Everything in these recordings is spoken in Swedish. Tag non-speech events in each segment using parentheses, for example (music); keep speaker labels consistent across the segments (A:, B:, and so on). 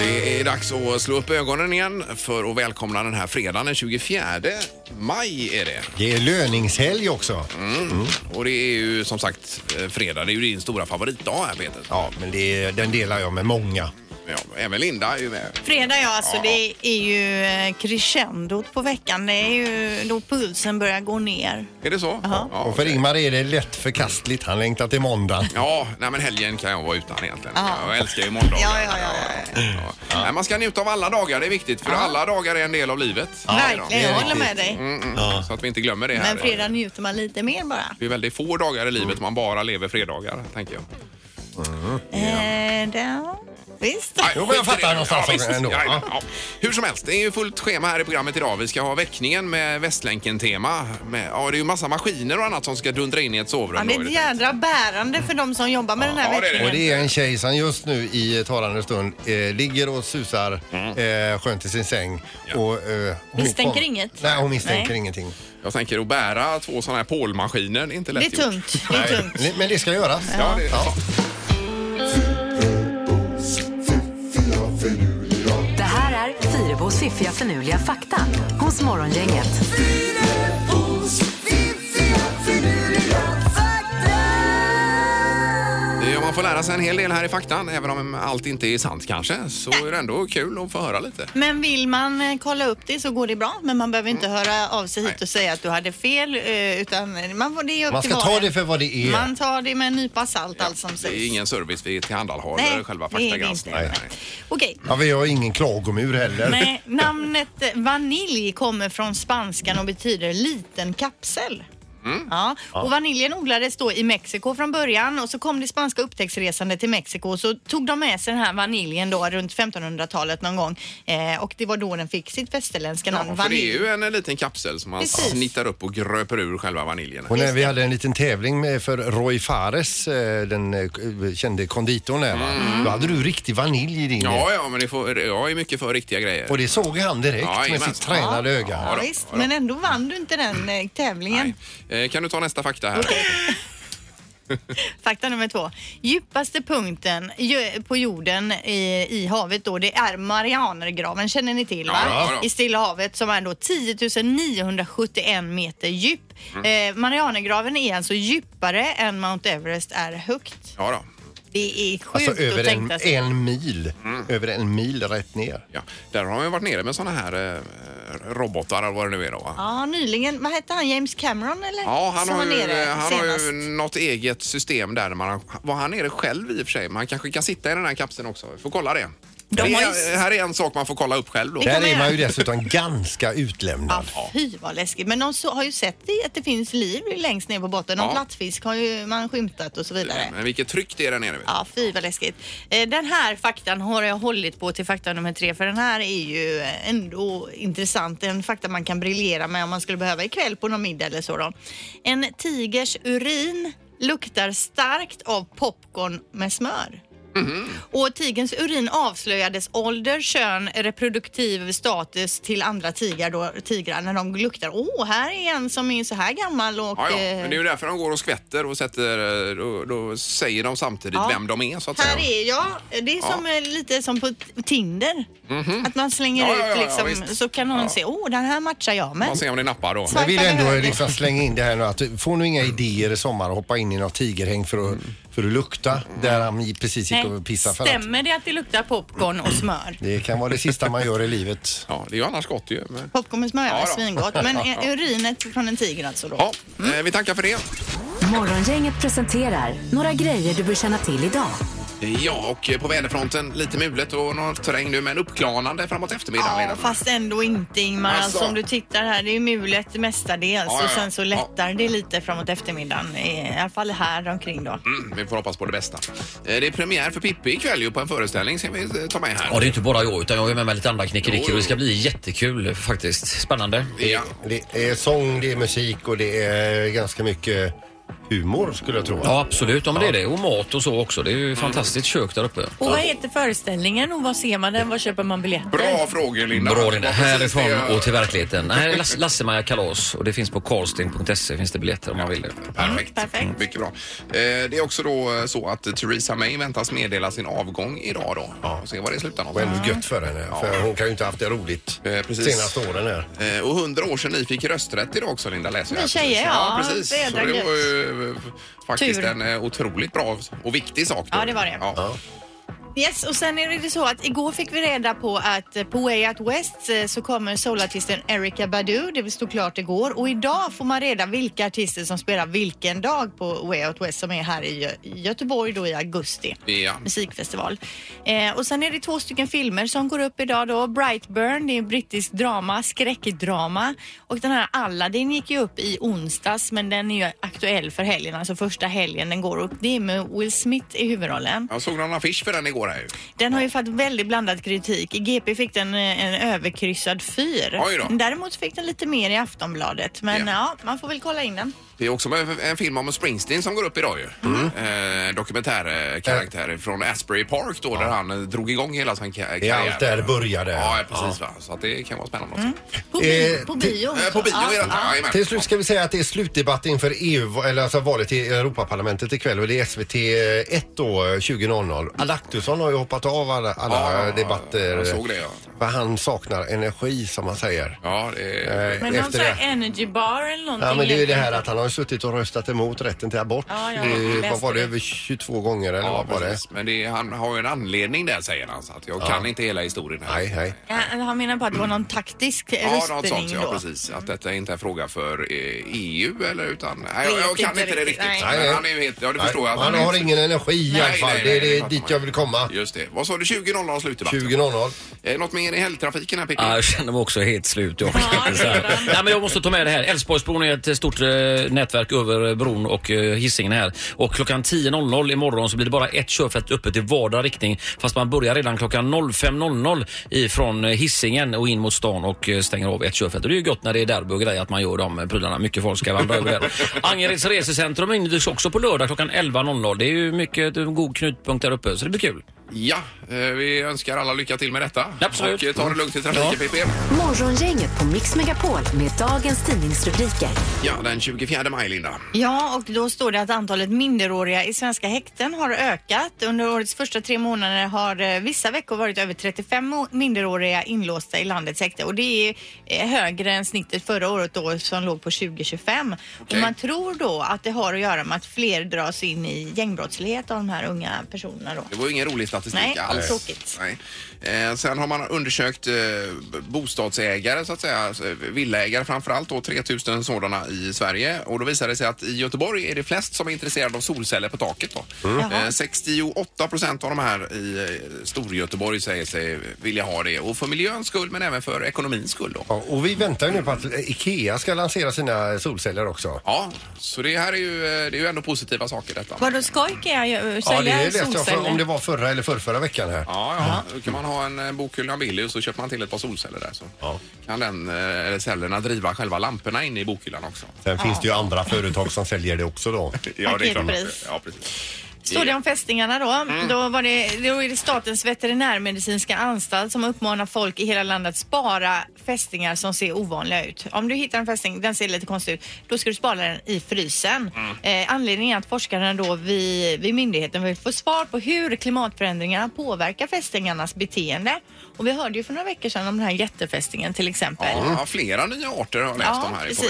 A: Det är dags att slå upp ögonen igen för att välkomna den här fredagen den 24 maj är det.
B: Det är löningshelg också.
A: Mm. Och det är ju som sagt eh, fredag, det är ju din stora favoritdag här Peter.
B: Ja, men det är, den delar jag med många.
A: Ja, även Linda är ju med.
C: Fredag ja, alltså det är ju eh, crescendot på veckan. Det är ju då pulsen börjar gå ner.
A: Är det så? Ja,
B: Och för Ingmar är det lätt förkastligt. Han längtar
A: (laughs)
B: till måndag.
A: ja nej men helgen kan jag vara utan egentligen. Jag älskar ju måndagar.
C: Ja, ja, ja, ja.
A: Ja. Nej, man ska njuta av alla dagar, det är viktigt för alla dagar är en del av livet.
C: Verkligen,
B: det är
C: jag håller
B: riktigt.
C: med dig.
A: Mm, mm, Så att vi inte glömmer det här.
C: Men fredag njuter man lite mer bara.
A: Det är väldigt få dagar i livet man bara lever fredagar, tänker jag.
C: Eh, där. Visst.
A: Nej,
B: Jo, men jag
A: skit i
B: fattar
A: det.
B: någonstans
A: visst.
B: ändå.
A: Ja,
B: Ja.
A: ja. Hur som helst, det är ju fullt schema här i programmet idag. Vi ska ha väckningen med Västlänken-tema. Med, ja, det är ju massa maskiner och annat som ska dundra in i ett sovrum.
C: Ja, det
A: då,
C: är
A: är
C: ett
A: det
C: jädra bärande för de som jobbar med den här
A: ja, det är det.
B: Och
C: veckan.
B: det är en tjej som just nu i talande stund eh, ligger och susar
A: Mm.
B: eh, skönt i sin säng. Och, eh, hon
C: Misstänker inget?
B: Nej, hon misstänker
C: Nej.
B: ingenting.
A: tänkt. Jag tänker att bära två sådana här pålmaskiner, det är inte
C: Det
A: lätt
C: är tungt. Det är
B: Nej,
C: tungt.
B: men- Men det ska göras.
A: Ja, det är ja.
D: Det här är Fyrabos fiffiga förnuliga fakta hos Morgongänget.
A: Ja, Man får lära sig en hel del här i faktan, även om allt inte är sant kanske. Så är det ändå kul att få höra lite.
C: Men vill man eh, kolla upp det så går det bra. Men man behöver inte höra av sig hit och säga att du hade fel. eh, Utan eh, man får det är upp
B: Man
C: till
B: ska
C: var
B: ta
C: och en.
B: det för vad det är.
C: Man tar det med en nypa salt allt som
A: Det är
C: sägs.
A: ingen service vi tillhandahåller, själva
C: det är det inte.
A: faktagranskningen.
C: Nej.
A: Nej.
C: Okej,
B: Ja, vi har ingen klagomur heller.
C: Nej, namnet eh, vanilj kommer från spanskan och betyder liten kapsel.
A: Mm.
C: Ja, och vaniljen odlades då i Mexiko från början och så kom det spanska upptäcktsresande till Mexiko och så tog de med sig den här vaniljen då runt 1500-talet någon gång eh, och det var då den fick sitt västerländska namn
A: Ja, för det
C: vanilj.
A: är ju en liten kapsel som man
C: Precis.
A: snittar upp och gröper ur själva vaniljen.
B: (laughs) Och när vi hade en liten tävling med, för Roy Fares, eh, den eh, kände konditorn där va? Då hade du riktig vanilj i din.
A: Mm. Ja, ja, men det får, jag är mycket för riktiga grejer.
B: Och det såg han direkt
A: Ja,
B: med
A: jajamän.
B: sitt tränade öga.
C: Ja, visst, men ändå vann du inte den eh, tävlingen.
A: Nej. Eh, Kan du ta nästa fakta här?
C: Fakta nummer två. Djupaste punkten ju- på jorden i, i havet då, det är Marianergraven känner ni till va?
A: Ja, ja, ja.
C: I Stilla havet som är då 10 971 meter djup.
A: Mm.
C: Eh, Marianergraven är alltså djupare än Mount Everest är högt.
A: Ja, då.
C: Det är sjukt
B: Alltså
C: att
B: över en,
C: tänka sig.
B: en mil.
A: Mm.
B: Över en mil rätt ner.
A: Ja. Där har man ju varit nere med såna här eh, robotar eller vad det nu är då va?
C: Ja, nyligen. Vad hette han? James Cameron eller?
A: Ja, han,
C: Som
A: har
C: var
A: ju, eh,
C: nere
A: han har
C: senast.
A: ju något eget system där. Man har, var han nere själv i och för sig? Man kanske kan sitta i den här kapseln också. Vi får kolla det.
C: De
A: det
C: har ju
A: är, här är en sak man får kolla upp själv då.
C: Vi
B: Där
C: kommer
B: är man
C: göra-
B: ju dessutom ganska utlämnad.
C: Ja, fy vad läskigt. Men de så, har ju sett det, att det finns liv längst ner på botten. Någon
A: Ja.
C: plattfisk har ju man skymtat och så vidare.
A: Men vilket tryck det är där nere. Vet. du.
C: Ja, fy vad läskigt. Eh, Den här faktan har jag hållit på till fakta nummer tre för den här är ju eh, ändå intressant. En fakta man kan briljera med om man skulle behöva ikväll på någon middag eller så då. En tigers urin luktar starkt av popcorn med smör.
A: Mhm.
C: Och tigerns urin avslöjades ålder, kön, reproduktiv status till andra tigrar då, tigrar när de luktar. Åh, här är en som är så här gammal och...
A: Ja, ja.
C: eh,
A: Men det är ju därför de går och skvätter och sätter, eh, då, då säger de samtidigt
C: Ja.
A: vem de är så att
C: Här
A: säga.
C: är jag. Det är som, eh, lite som på t- Tinder. Att man slänger
A: Mhm. Ja, ja, ja,
C: ut
A: ja,
C: liksom,
A: visst.
C: så kan någon
A: Ja.
C: se, åh den här matchar jag med.
A: Man ser om det nappar då.
C: Så-
B: Jag vill ändå
C: Svarta
B: liksom slänga in det här nu att får nu inga idéer i sommar och hoppa in i något tigerhäng för att,
A: Mm.
B: för att lukta där han precis gick och pissade för att
C: Stämmer det att det luktar popcorn och smör?
B: det kan vara det sista man gör i livet.
A: Ja, det är ju annars gott ju. Men...
C: Popcorn med smör
A: Ja,
C: är
A: då. (laughs)
C: svingott. Men eh, urinet från en tiger alltså då.
A: Ja, eh, vi tackar för det.
D: Morgongänget presenterar några grejer du bör känna till idag.
A: Ja, och på väderfronten lite mulet och något regn nu, men uppklarnande framåt eftermiddagen.
C: Ja,
A: redan.
C: fast ändå inte Ingmar.
A: Alltså.
C: Alltså. om du tittar här, det är mulet mestadels
A: Ja, ja,
C: och
A: ja.
C: sen så lättar det lite framåt eftermiddagen. I alla fall här omkring då.
A: Mm, vi får hoppas på det bästa. Eh, Det är premiär för Pippi ikväll ju på en föreställning ska vi eh, ta med här.
E: Ja, det är inte bara jag utan jag är med mig lite andra knickedickor och det ska bli jättekul faktiskt. Spännande.
A: Ja.
B: Det är sång, det är musik och det är ganska mycket humor skulle jag tro.
E: Ja, absolut. Ja, men det är det. Och mat och så också. Det är
A: Mm.
E: ju fantastiskt kök där uppe.
F: Och vad heter föreställningen och vad ser man den? Var köper man biljetter?
A: Bra frågor Linda.
E: Bra Linda.
A: Det var precis det
E: Härifrån
A: jag-
E: och till verkligheten. Det här är Lasse- Lasse-Maja kalas och det finns på karlsten.se E, finns det biljetter om man vill det.
A: Perfekt.
C: Mm, perfekt.
A: Mycket bra. Eh, Det är också då eh, så att Theresa May väntas meddela sin avgång idag då. Ja. Se var det slutar
B: Och
A: någonstans.
B: ändå gött för henne. För hon kan ju inte haft det roligt
A: Eh, precis.
B: senaste åren här.
A: Eh, Och hundra år sedan ni fick rösträtt idag också Linda läser jag.
C: Ni
A: här precis.
C: tjejer, ja.
A: precis.
C: Det är
A: Så det
C: jädra
A: var ju eh, faktiskt
C: Tur.
A: en eh, otroligt bra och viktig sak. då.
C: Ja, det var det.
A: Ja.
C: Yes, och sen är det så att igår fick vi reda på att eh, på Way Out West eh, så kommer soulartisten Erika Badu. Det stod klart igår och idag får man reda vilka artister som spelar vilken dag på Way Out West som är här i Gö- i Göteborg då i augusti.
A: Ja.
C: musikfestival. Eh, och sen är det två stycken filmer som går upp idag då. Brightburn, det är en brittisk drama, skräckdrama. Och den här Aladdin gick ju upp i onsdags men den är ju aktuell för helgen, alltså första helgen den går upp. Det är med Will Smith i huvudrollen.
A: Jag såg någon affisch för den igår här ju.
C: Den har ju fått väldigt blandad kritik. I GP fick den eh, en överkryssad fyr.
A: Oj då.
C: Däremot fick den lite mer i Aftonbladet. Men
A: Ja.
C: ja, man får väl kolla in den.
A: Det är också en- en film om Springsteen som går upp idag ju.
B: Mm.
A: Eh, Dokumentärkaraktär från Asbury Park då där han eh, drog igång hela sin ka- karriär.
B: Eh. Det är allt där det började.
A: Ja, precis va. Så att det kan vara spännande också.
C: På, bi-
B: Eh,
C: på
B: det-
C: bio.
A: Eh, på bio är det ja, jajamän.
B: Till slut ska vi säga att det är slutdebatt inför EU, eller alltså valet till Europaparlamentet ikväll och det är SVT 1 eh, då, 20.00. Adaktusson har ju hoppat av alla, alla
A: Ja,
B: debatter.
A: jag såg det, ja.
B: För han saknar energi som man säger.
A: Ja, det är...
B: Eh,
F: Men någon sån här energy bar eller någonting?
B: Ja men det är ju det här att han har ju suttit och röstat emot rätten till abort.
F: Ja, ja,
B: Det är ju-
F: jag
B: vad
F: läste
B: var det,
F: det.
B: över 22 gånger eller
A: Ja,
B: vad var det?
A: precis. Men det är, han har ju en anledning där säger han så att jag kan inte hela historien här.
B: Nej, nej.
C: Ja, han menar på att det var någon taktisk
A: Ja, något sånt.
C: röstning
A: Ja,
C: då. Mm.
A: precis. Att detta inte är en fråga för eh, EU eller utan... Nej, jag,
C: Vet
A: jag kan
C: inte
A: inte det
C: riktigt,
A: riktigt.
C: nej.
B: Nej,
A: Men
B: nej.
A: han är ju helt... Ja, det förstår
B: Nej,
A: jag. att
B: Han har
A: inte-
B: ingen energi i
A: Nej,
B: alla fall.
A: nej,
B: Det
A: nej,
B: är
A: det
B: det
A: fattar
B: dit
A: man.
B: jag vill komma.
A: Just det. Vad sa du? 20.00 slutdebatt?
B: 20.00.
A: Eh, Något mer i helgtrafiken här, Pippi?
E: Ja, jag känner mig också helt slut. Jag,
F: Ja, det är det.
E: Nej, men jag måste ta med det här. Älvsborgsbron är ett stort eh, nätverk över eh, bron och eh, Hisingen här. Och klockan 10.00 imorgon så blir det bara ett körfält öppet i vardera riktning. Fast man börjar redan klockan 05.00 ifrån eh, Hisingen och in mot stan och eh, stänger av ett körfält. Och det är ju gott när det är derby och grejer att man gör de eh, prylarna. Mycket folk ska vandra över
F: (laughs)
E: där. Angereds resecentrum invigs också på lördag klockan 11.00. Det är ju mycket eh, god knutpunkt där uppe så det blir kul.
A: Ja, eh, vi önskar alla lycka till med detta.
E: Absolut.
A: Och eh, ta det lugnt i trafiken,
E: Ja.
A: Pippi.
D: Morgongänget på Mix Megapol med dagens tidningsrubriker.
A: Ja, den 24 maj, Linda.
C: Ja, och då står det att antalet minderåriga i svenska häkten har ökat. Under årets första tre månader har eh, vissa veckor varit över 35 mo- minderåriga inlåsta i landets häkte och det är eh, högre än snittet förra året då som låg på 20-25.
A: Okej.
C: Och man tror då att det har att göra med att fler dras in i gängbrottslighet av de här unga personerna då.
A: Det var ju ingen rolig statistik
C: Nej,
A: alls.
C: tråkigt.
A: Nej. Eh, sen har man undersökt eh, b- bostadsägare, så att säga, alltså, villaägare framför allt, då, 3000 sådana i Sverige. Och då visar det sig att i Göteborg är det flest som är intresserade av solceller på taket. Då.
C: Jaha.
A: Eh, 68 procent av de här i eh, Storgöteborg säger sig vilja ha det. Och för miljöns skull, men även för ekonomins skull. Då.
B: Ja, och vi väntar ju nu på att IKEA ska lansera sina solceller också.
A: Ja, så det här är ju, eh, det är ju ändå positiva saker detta.
F: Vadå skoj kan jag ju-
B: Ja,
F: sälja
B: det läste jag för,
F: solceller?
B: om det var förra eller förrförra veckan här.
A: Ja, ja. Då kan man ha en eh, bokhylla billig och så köper man till ett par solceller där. Så kan den, eh, eller cellerna driva själva lamporna inne i bokhyllan också.
B: Sen finns det ju andra företag som säljer det
A: (laughs)
B: också då.
A: Ja, det är klart.
C: Paketpris.
A: Ja, precis.
C: Står det om fästingarna då? Då, var det, då är det Statens veterinärmedicinska anstalt som uppmanar folk i hela landet att spara fästingar som ser ovanliga ut. Om du hittar en fästing, den ser lite konstig ut, då ska du spara den i frysen. Eh, anledningen är att forskarna då vid, vid myndigheten vill få svar på hur klimatförändringarna påverkar fästingarnas beteende. Och vi hörde ju för några veckor sedan om den här jättefästingen till exempel.
A: Ja, flera nya arter har jag läst om här på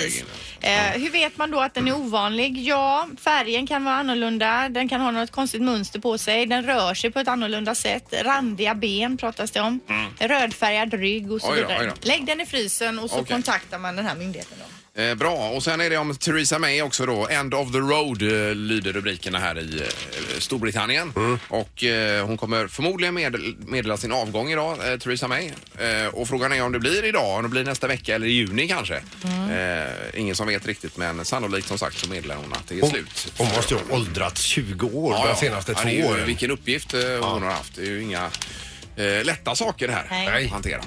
A: vägen.
C: Eh, hur vet man då att den är ovanlig? Ja, färgen kan vara annorlunda. Den kan ha något konstigt mönster på sig. Den rör sig på ett annorlunda sätt. Randiga ben pratas det om. Rödfärgad rygg och så
A: Oj då,
C: vidare.
A: Mm. oj då.
C: Lägg den i frysen och så
A: Okej.
C: kontaktar man den här myndigheten. Då.
A: Eh, bra, och sen är det om Theresa May också då. End of the road eh, lyder rubrikerna här i eh, Storbritannien.
B: Mm.
A: Och eh, hon kommer förmodligen med, meddela sin avgång idag, eh, Theresa May. Eh, och frågan är om det blir idag, om det blir nästa vecka eller i juni kanske. Eh, ingen som vet riktigt men sannolikt som sagt så meddelar hon att det är
B: Hon,
A: slut.
B: hon måste ju ha åldrats 20 år
A: Ja,
B: de
A: ja.
B: senaste
A: Ja,
B: två
A: det är ju,
B: åren.
A: Vilken uppgift eh, hon har haft. Det är ju inga eh, lätta saker det här
G: Nej.
A: att hantera.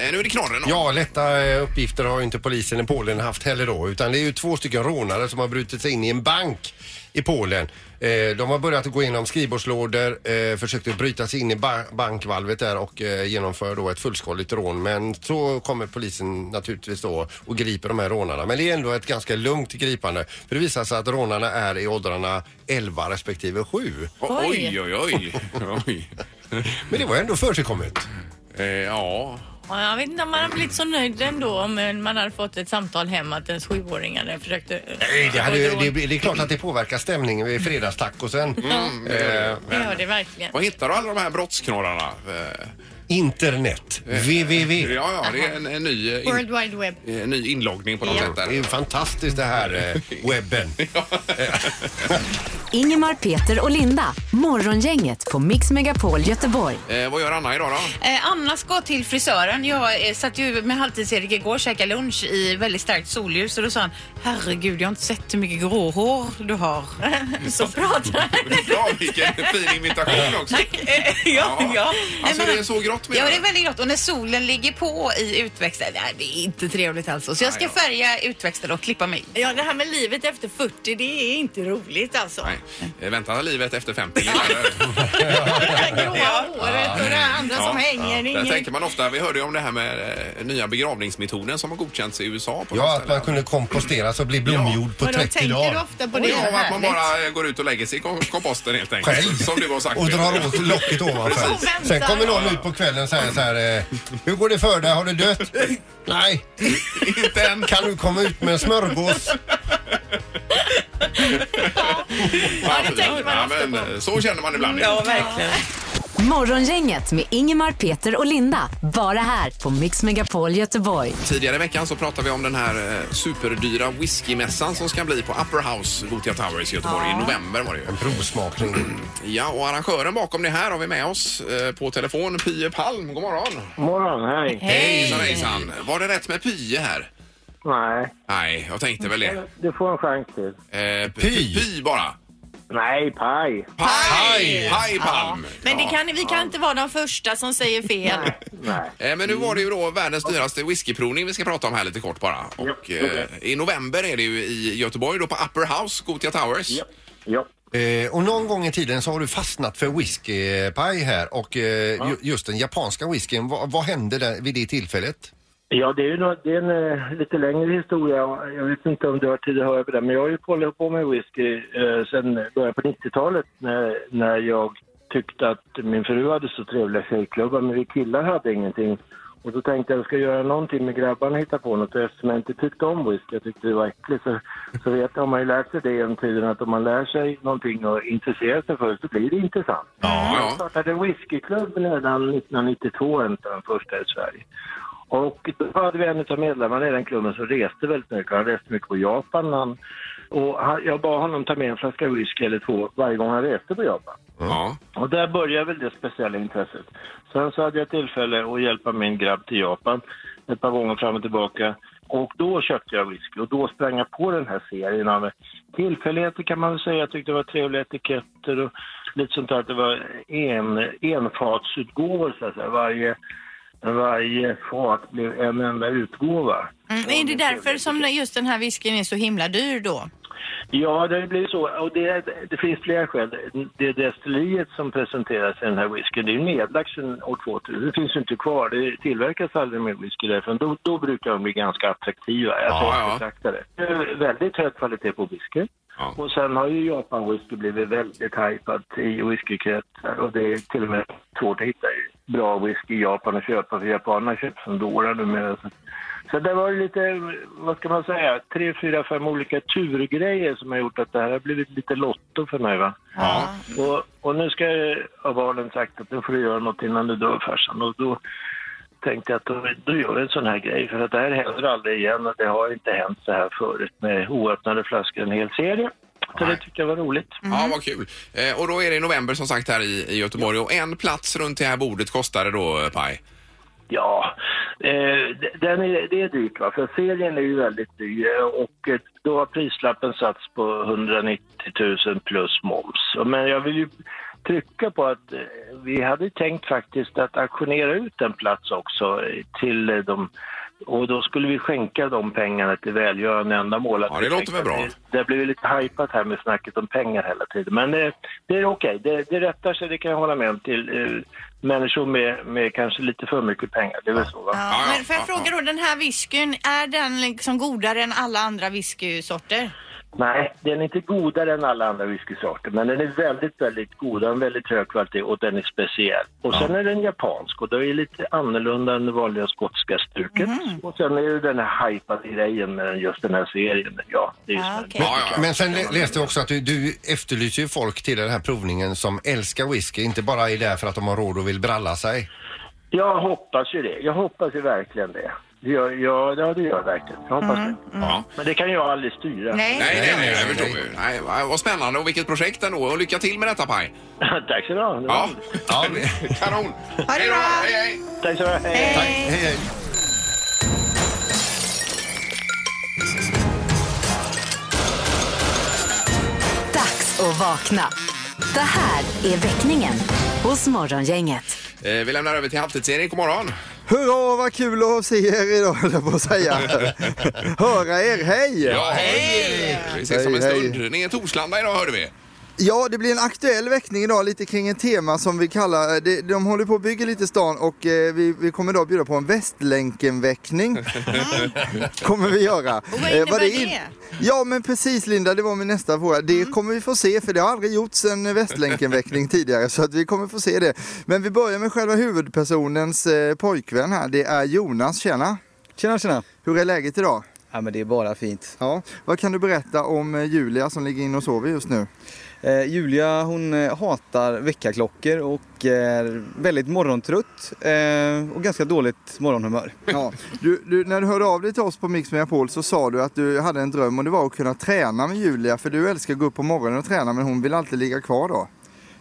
A: Eh, nu är det knorren. då.
B: Ja, lätta eh, uppgifter har ju inte polisen i Polen haft heller då. Utan det är ju två stycken rånare som har brutit sig in i en bank i Polen. Eh, De har börjat att gå igenom skrivbordslådor, eh, försökte bryta sig in i ba- bankvalvet där och eh, genomför då ett fullskaligt rån. Men så kommer polisen naturligtvis då och griper de här rånarna. Men det är ändå ett ganska lugnt gripande. För det visar sig att rånarna är i åldrarna 11 respektive 7.
A: O- Oj, oj, oj.
B: (laughs)
A: oj.
B: Men det var ändå förekommet.
A: Eh, ja.
C: Ja, jag vet inte om man hade blivit så nöjd ändå om eh, man hade fått ett samtal hem att ens sjuåring hade försökt... eh,
B: Nej, det, hade,
C: få ett
B: det,
C: rån.
B: det, är klart att det påverkar stämningen vid fredagstacosen. Eh,
C: Det gör det verkligen.
A: Var hittar du alla de här brottsknorrarna? Eh,
B: Internet, www.
A: ja, ja, det är en, en ny, eh,
G: World
A: in,
G: Wide Web.
A: eh, ny inloggning på något
G: Ja.
A: sätt.
B: Det är ju
A: Där.
B: fantastiskt det här eh, webben.
D: Ingemar, Peter och Linda. Morgongänget på Mix Megapol Göteborg.
A: (laughs) Eh, vad gör Anna idag då?
H: Eh, Anna ska till frisören. Jag eh, satt ju med halvtids-Erik igår och käkade lunch i väldigt starkt solljus och då sa han Herregud, jag har inte sett hur mycket gråhår du har.
C: (laughs) Så pratar
H: (laughs)
A: Ja, vilken fin imitation också.
H: ja, ja.
A: Alltså det är så grått med
H: Ja, det är väldigt grått. Och när solen ligger på i utväxten, nej, det är inte trevligt alls. Så jag ska
A: Nej då.
H: färga utväxten och klippa mig.
C: Ja, det här med livet efter 40, det är inte roligt alltså. (laughs)
A: Nej. Eh, vänta livet efter 50.
C: Gråa håret och det här andra som hänger.
A: Där
C: ingen...
A: tänker man ofta, vi hörde ju om det här med eh, nya begravningsmetoden som har godkänts i USA. På något
B: Ja, att
A: ställe.
B: man kunde komposteras och bli blomjord på
C: Och då
B: 30
C: tänker du
B: dagar.
C: ofta på det.
A: Ja, att man bara eh, går ut och lägger sig i kom- komposten helt enkelt.
B: Själv.
A: Som du har sagt.
B: Och drar
A: Peter.
B: åt locket ovanför.
C: Och väntar.
B: Sen kommer någon ut på kvällen och säger så här. eh, Hur går det för dig? Har du dött? Nej.
A: (laughs) Inte än.
B: Kan du komma ut med en smörgås?
A: Ja, men, eh, Så känner man ibland.
H: Ja, verkligen.
D: Morgongänget med Ingemar, Peter och Linda. Bara här på Mix Megapol Göteborg.
A: Tidigare i veckan så pratade vi om den här eh, superdyra whiskymässan som ska bli på Upper House Gothia Towers i Göteborg. I november var det ju.
B: En provsmakning.
A: Ja, och arrangören bakom det här har vi med oss eh, på telefon. Pye Palm, god morgon.
I: morgon, hej.
A: Hejsan, hejsan. Var det rätt med Pye här?
I: Nej,
A: Nej, jag tänkte väl det.
I: du får en chans till.
A: Eh,
B: Py?
A: Py bara.
I: Nej, paj.
A: Paj! Paj Palm!
C: Men det
A: Ja.
C: kan, vi kan inte vara de första som säger fel.
I: Nej.
A: Eh, Men nu var det ju då världens dyraste whiskyprovning vi ska prata om här lite kort bara. Och
I: Ja, okej.
A: eh, i november är det ju i Göteborg då på Upper House, Gothia Towers.
I: Ja. Ja.
B: Eh, och någon gång i tiden så har du fastnat för whiskypaj här och eh, ju, just den japanska whiskyn. Vad, vad hände där vid det tillfället?
I: Ja, det är ju nå- det är en eh, lite längre historia. Jag vet inte om du har tid att höra på det, men jag har ju hållit på med whisky eh, sedan början på 90-talet när, när jag tyckte att min fru hade så trevliga tjejklubbar, men vi killar hade ingenting. Och så tänkte jag att jag ska göra någonting med grabbarna och hitta på något. Och Eftersom jag inte tyckte om whisky, jag tyckte det var äckligt, så, så vet jag, har man ju lärt sig det genom tiden att om man lär sig någonting och intresserar sig för det så blir det intressant. Jag
A: Ja,
I: startade whiskyklubben redan 1992, en av de första i Sverige. Och då hade vi en av medlemmarna i den klubben som reste väldigt mycket. Han reste mycket på Japan. Han, och han, jag bad honom ta med en flaska whisky eller två varje gång han reste på Japan.
A: ja.
I: Och där började väl det speciella intresset. Sen så hade jag tillfälle att hjälpa min grabb till Japan ett par gånger fram och tillbaka. Och då köpte jag whisky och då sprang jag på den här serien av tillfälligheter kan man väl säga. Jag tyckte det var trevliga etiketter och lite sånt där. att Det var en, enfatsutgåvor så att säga. Varje, varje fat blev en enda utgåva.
C: Mm, är det därför som just den här whiskyn är så himla dyr då?
I: Ja, det blir så. Och det, det finns flera skäl. Det destilleriet som presenteras i den här whiskyn, det är ju nedlagt sedan år 2000. Det finns ju inte kvar. Det tillverkas aldrig mer whisky därifrån. Då, då brukar de bli ganska attraktiva. Alltså, Jag
A: Ja,
I: tror
A: ja.
I: jag betraktar det. Det är väldigt hög kvalitet på whisky.
A: Ja.
I: Och sen har ju Japan whisky blivit väldigt hajpat i whiskykretsar och det är till och med svårt att hitta bra whisky i Japan att köpa för japanerna köper som dårar numera. Så- Så det var lite, vad ska man säga, tre, fyra, fem olika turgrejer som har gjort att det här har blivit lite lotto för mig va.
A: Ja.
I: Och, och nu ska jag, har barnen sagt att nu får du göra något innan du dör farsan. Och då
J: tänkte jag att då, då gör jag en sån här grej för att det här händer aldrig igen och det har inte hänt så här förut med oöppnade flaskor i en hel serie. Så det tyckte jag var roligt.
A: Ja, vad kul. Eh, och då är det i november som sagt här i, i Göteborg och en plats runt det här bordet kostar det då, eh, Paj?
J: Ja, eh, d- den är, det är dyrt va, för serien är ju väldigt dyr eh, och eh, då har prislappen satts på 190 000 plus moms. Och Men jag vill ju trycka på att eh, vi hade tänkt faktiskt att auktionera ut en plats också eh, till eh, de och då skulle vi skänka de pengarna till välgörande ändamål.
A: Ja, det låter väl bra.
J: Det, det blir ju lite hajpat här med snacket om pengar hela tiden. Men eh, det är okej, det, det rättar sig, det kan jag hålla med om, till eh, människor med, med kanske lite för mycket pengar. Det är väl så va?
C: Ja, men får jag fråga då, den här whiskyn, är den liksom godare än alla andra whiskysorter?
J: Nej, den är inte godare än alla andra whiskysorter, men den är väldigt, väldigt god. Den har väldigt hög kvalitet och den är speciell. Och sen är den japansk och det är lite annorlunda än det vanliga skotska stuket. Och sen är det den här hypade grejen med den- just den här serien. Ja, det är ju som en-
B: Men sen lä- läste jag också att du, du efterlyser ju folk till den här provningen som älskar whisky, inte bara är där för att de har råd och vill bralla sig.
J: Jag hoppas ju det. Jag hoppas ju verkligen det. Det gör- Ja, ja, det gör jag verkligen. Jag hoppas det. Men det kan jag aldrig styra.
A: Nej, nej, nej, nej, jag förstår ju. Nej, vad vad spännande och vilket projekt ändå. Och lycka till med detta, Paj.
J: (laughs) Tack så du ha.
A: Ja. Kanon.
C: Ha det bra!
A: Hej, hej.
J: Tack så mycket.
C: Hej!
D: Dags att vakna. Det här är väckningen hos Morgongänget.
A: Eh, Vi lämnar över till halvtids-Erik. God morgon.
I: Hurra vad kul att se er idag höll jag på att säga. Höra er, hej!
A: Ja, hej! Vi ses om en
I: Hej, hej.
A: stund. Ni är i Torslanda idag, hörde vi.
I: Ja, det blir en aktuell väckning idag lite kring ett tema som vi kallar, de, de håller på att bygga lite stan och eh, vi, vi kommer idag bjuda på
K: (laughs)
I: en Västlänken-väckning. kommer vi göra. Eh, Och
K: vad innebär det? Mm.
I: Ja men precis Linda, det var min nästa fråga. Det kommer vi få se för det har aldrig gjorts en Västlänken-väckning tidigare så att vi kommer få se det. Men vi börjar med själva huvudpersonens eh, pojkvän här, det är Jonas, tjena. Tjena tjena. Hur är läget idag? Ja men det är bara fint. Ja. Vad kan du berätta om eh, Julia som ligger inne och sover just nu?
K: Eh, Julia hon eh, hatar väckarklockor och är väldigt morgontrött eh, och ganska dåligt morgonhumör.
I: Ja, du, du, när du hörde av dig till oss på Mix Megapol så sa du att du hade en dröm och det var att kunna träna med Julia för du älskar att gå upp på morgonen och träna men hon vill alltid ligga kvar då.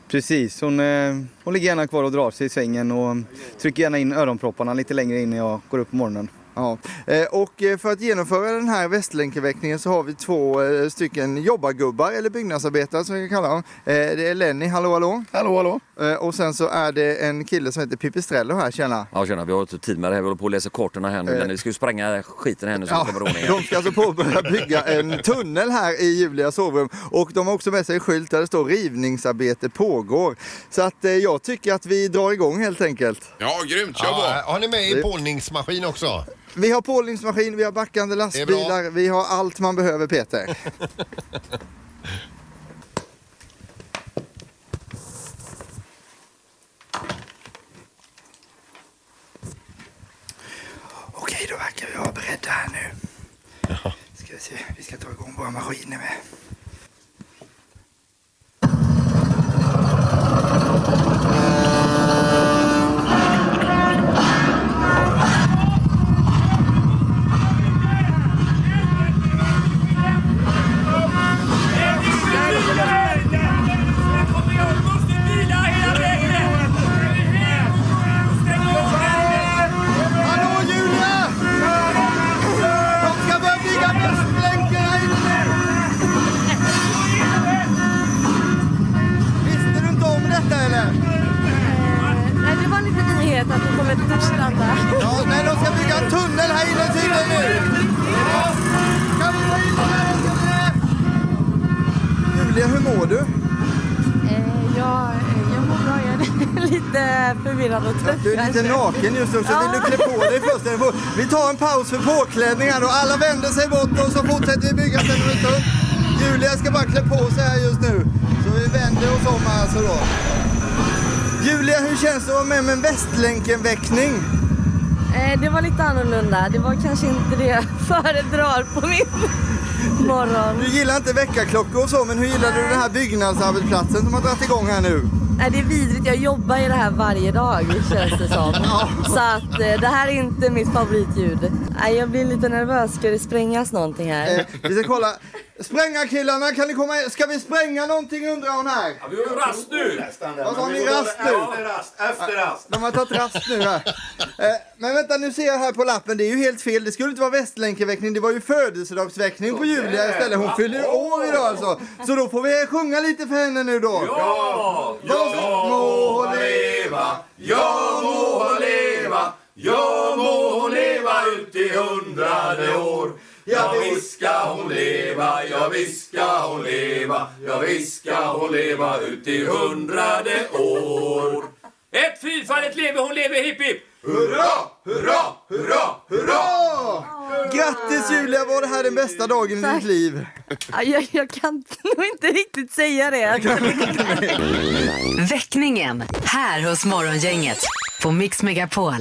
K: Precis, hon, eh, hon ligger gärna kvar och drar sig i sängen och trycker gärna in öronpropparna lite längre in när jag går upp på morgonen.
I: Ja. Eh, Och eh, för att genomföra den här Västlänkenväckningen så har vi två eh, stycken jobbargubbar eller byggnadsarbetare som vi kan kalla dem. Eh, Det är Lenny, hallå hallå. Hallå hallå. Och sen så är det en kille som heter Pipistrello här, tjena.
L: Ja tjena, vi har inte tid med det här. Vi håller på att läsa kartorna här nu.
I: Eh.
L: men Vi ska ju spränga skiten här nu så
I: Ja,
L: vi kommer ordning.
I: de ska alltså påbörja bygga en tunnel här i Julias sovrum och de har också med sig en skylt där det står rivningsarbete pågår. Så att eh, jag tycker att vi drar igång helt enkelt.
A: Ja, grymt. Kör
B: ja,
I: på.
B: Har ni med i
I: Det-
B: pålningsmaskin också?
I: Vi har pålningsmaskin, vi har backande lastbilar, vi har allt man behöver Peter. (laughs) Okej, då verkar vi vara beredda här nu. Ska vi se, vi ska ta igång våra maskiner med.
K: Hallå Julia!
I: De ska börja bygga Västlänken här inne! Visste du inte om detta eller?
M: Nej, det var en liten nyhet att vi kommer till Torslanda.
I: Ja, nej, de ska bygga en tunnel här inne tydligen nu! Kan vi gå in här? Julia, hur mår du?
M: Eh, jag, eh, jag mår bra. Jag är (laughs) lite förvirrad och trött.
I: Du är lite naken just nu, så vill du klä på dig först? Eller får- Vi tar en paus för påklädning här då. Alla vänder sig bort och så fortsätter vi bygga sen en stund. Julia ska bara klä på sig här just nu. Så vi vänder oss om här alltså då. Julia, hur känns det att vara med om en Västlänken-väckning?
M: Eh, det var lite annorlunda. Det var kanske inte det jag (laughs) föredrar på
I: (laughs)
M: min morgon.
I: Du gillar inte väckarklockor och så, men hur gillar du den här byggnadsarbetsplatsen som har dragit igång här nu?
D: Nej, det är vidrigt. Jag jobbar i det här varje dag känns det som. Så att eh, det här är inte mitt favoritljud. Nej, jag blir lite nervös. Ska det sprängas någonting här?
N: Eh, vi ska kolla. Spränga killarna, kan ni komma in? Ska vi spränga någonting undrar hon här.
O: Ja, vi har ju rast nu! Nästan
N: Vad sa ni, rast nu?
O: Efter rast, efter rast.
N: De har tagit rast nu här. Eh, Men vänta, nu ser jag här på lappen, det är ju helt fel. Det skulle inte vara Västlänkenväckning, det var ju födelsedagsväckning på Julia istället. Hon fyller ju år idag alltså. Så då får vi sjunga lite för henne nu då.
O: Ja, jag må hon leva, jag må hon leva, jag må hon leva ut i hundrade år. Ja visst ska hon leva, ja visst ska hon leva, ja visst ska hon leva ut i hundrade år.
P: Ett fyrfaldigt leve, hon lever, hipp hipp!
O: Hurra, hurra, hurra,
N: Hurra! Grattis Julia, var det här den bästa dagen i ditt liv?
D: Ja, Jag, jag kan (laughs) nog inte riktigt säga det.
Q: Väckningen här hos Morgongänget på Mix Megapol.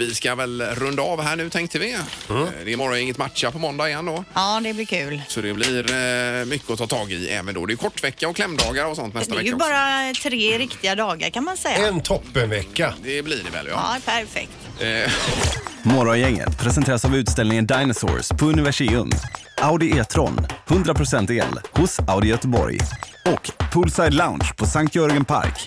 A: Vi ska väl runda av här nu tänkte vi. Eh, Det är morgon inget matcha på måndag igen då.
C: Ja, det blir kul.
A: Så det blir eh, mycket att ta tag i även då. Det är kortvecka och klämdagar och sånt
C: Det
A: nästa
C: blir ju
A: vecka också.
C: bara tre riktiga dagar kan man säga.
B: En toppenvecka.
A: Det blir det väl
C: Ja, perfekt.
A: Eh,
I: Morgongänget presenteras av utställningen Dinosaurs på Universium. Audi E-tron, 100% el, hos Audi Göteborg. Och Poolside Lounge på Sankt Jörgen Park.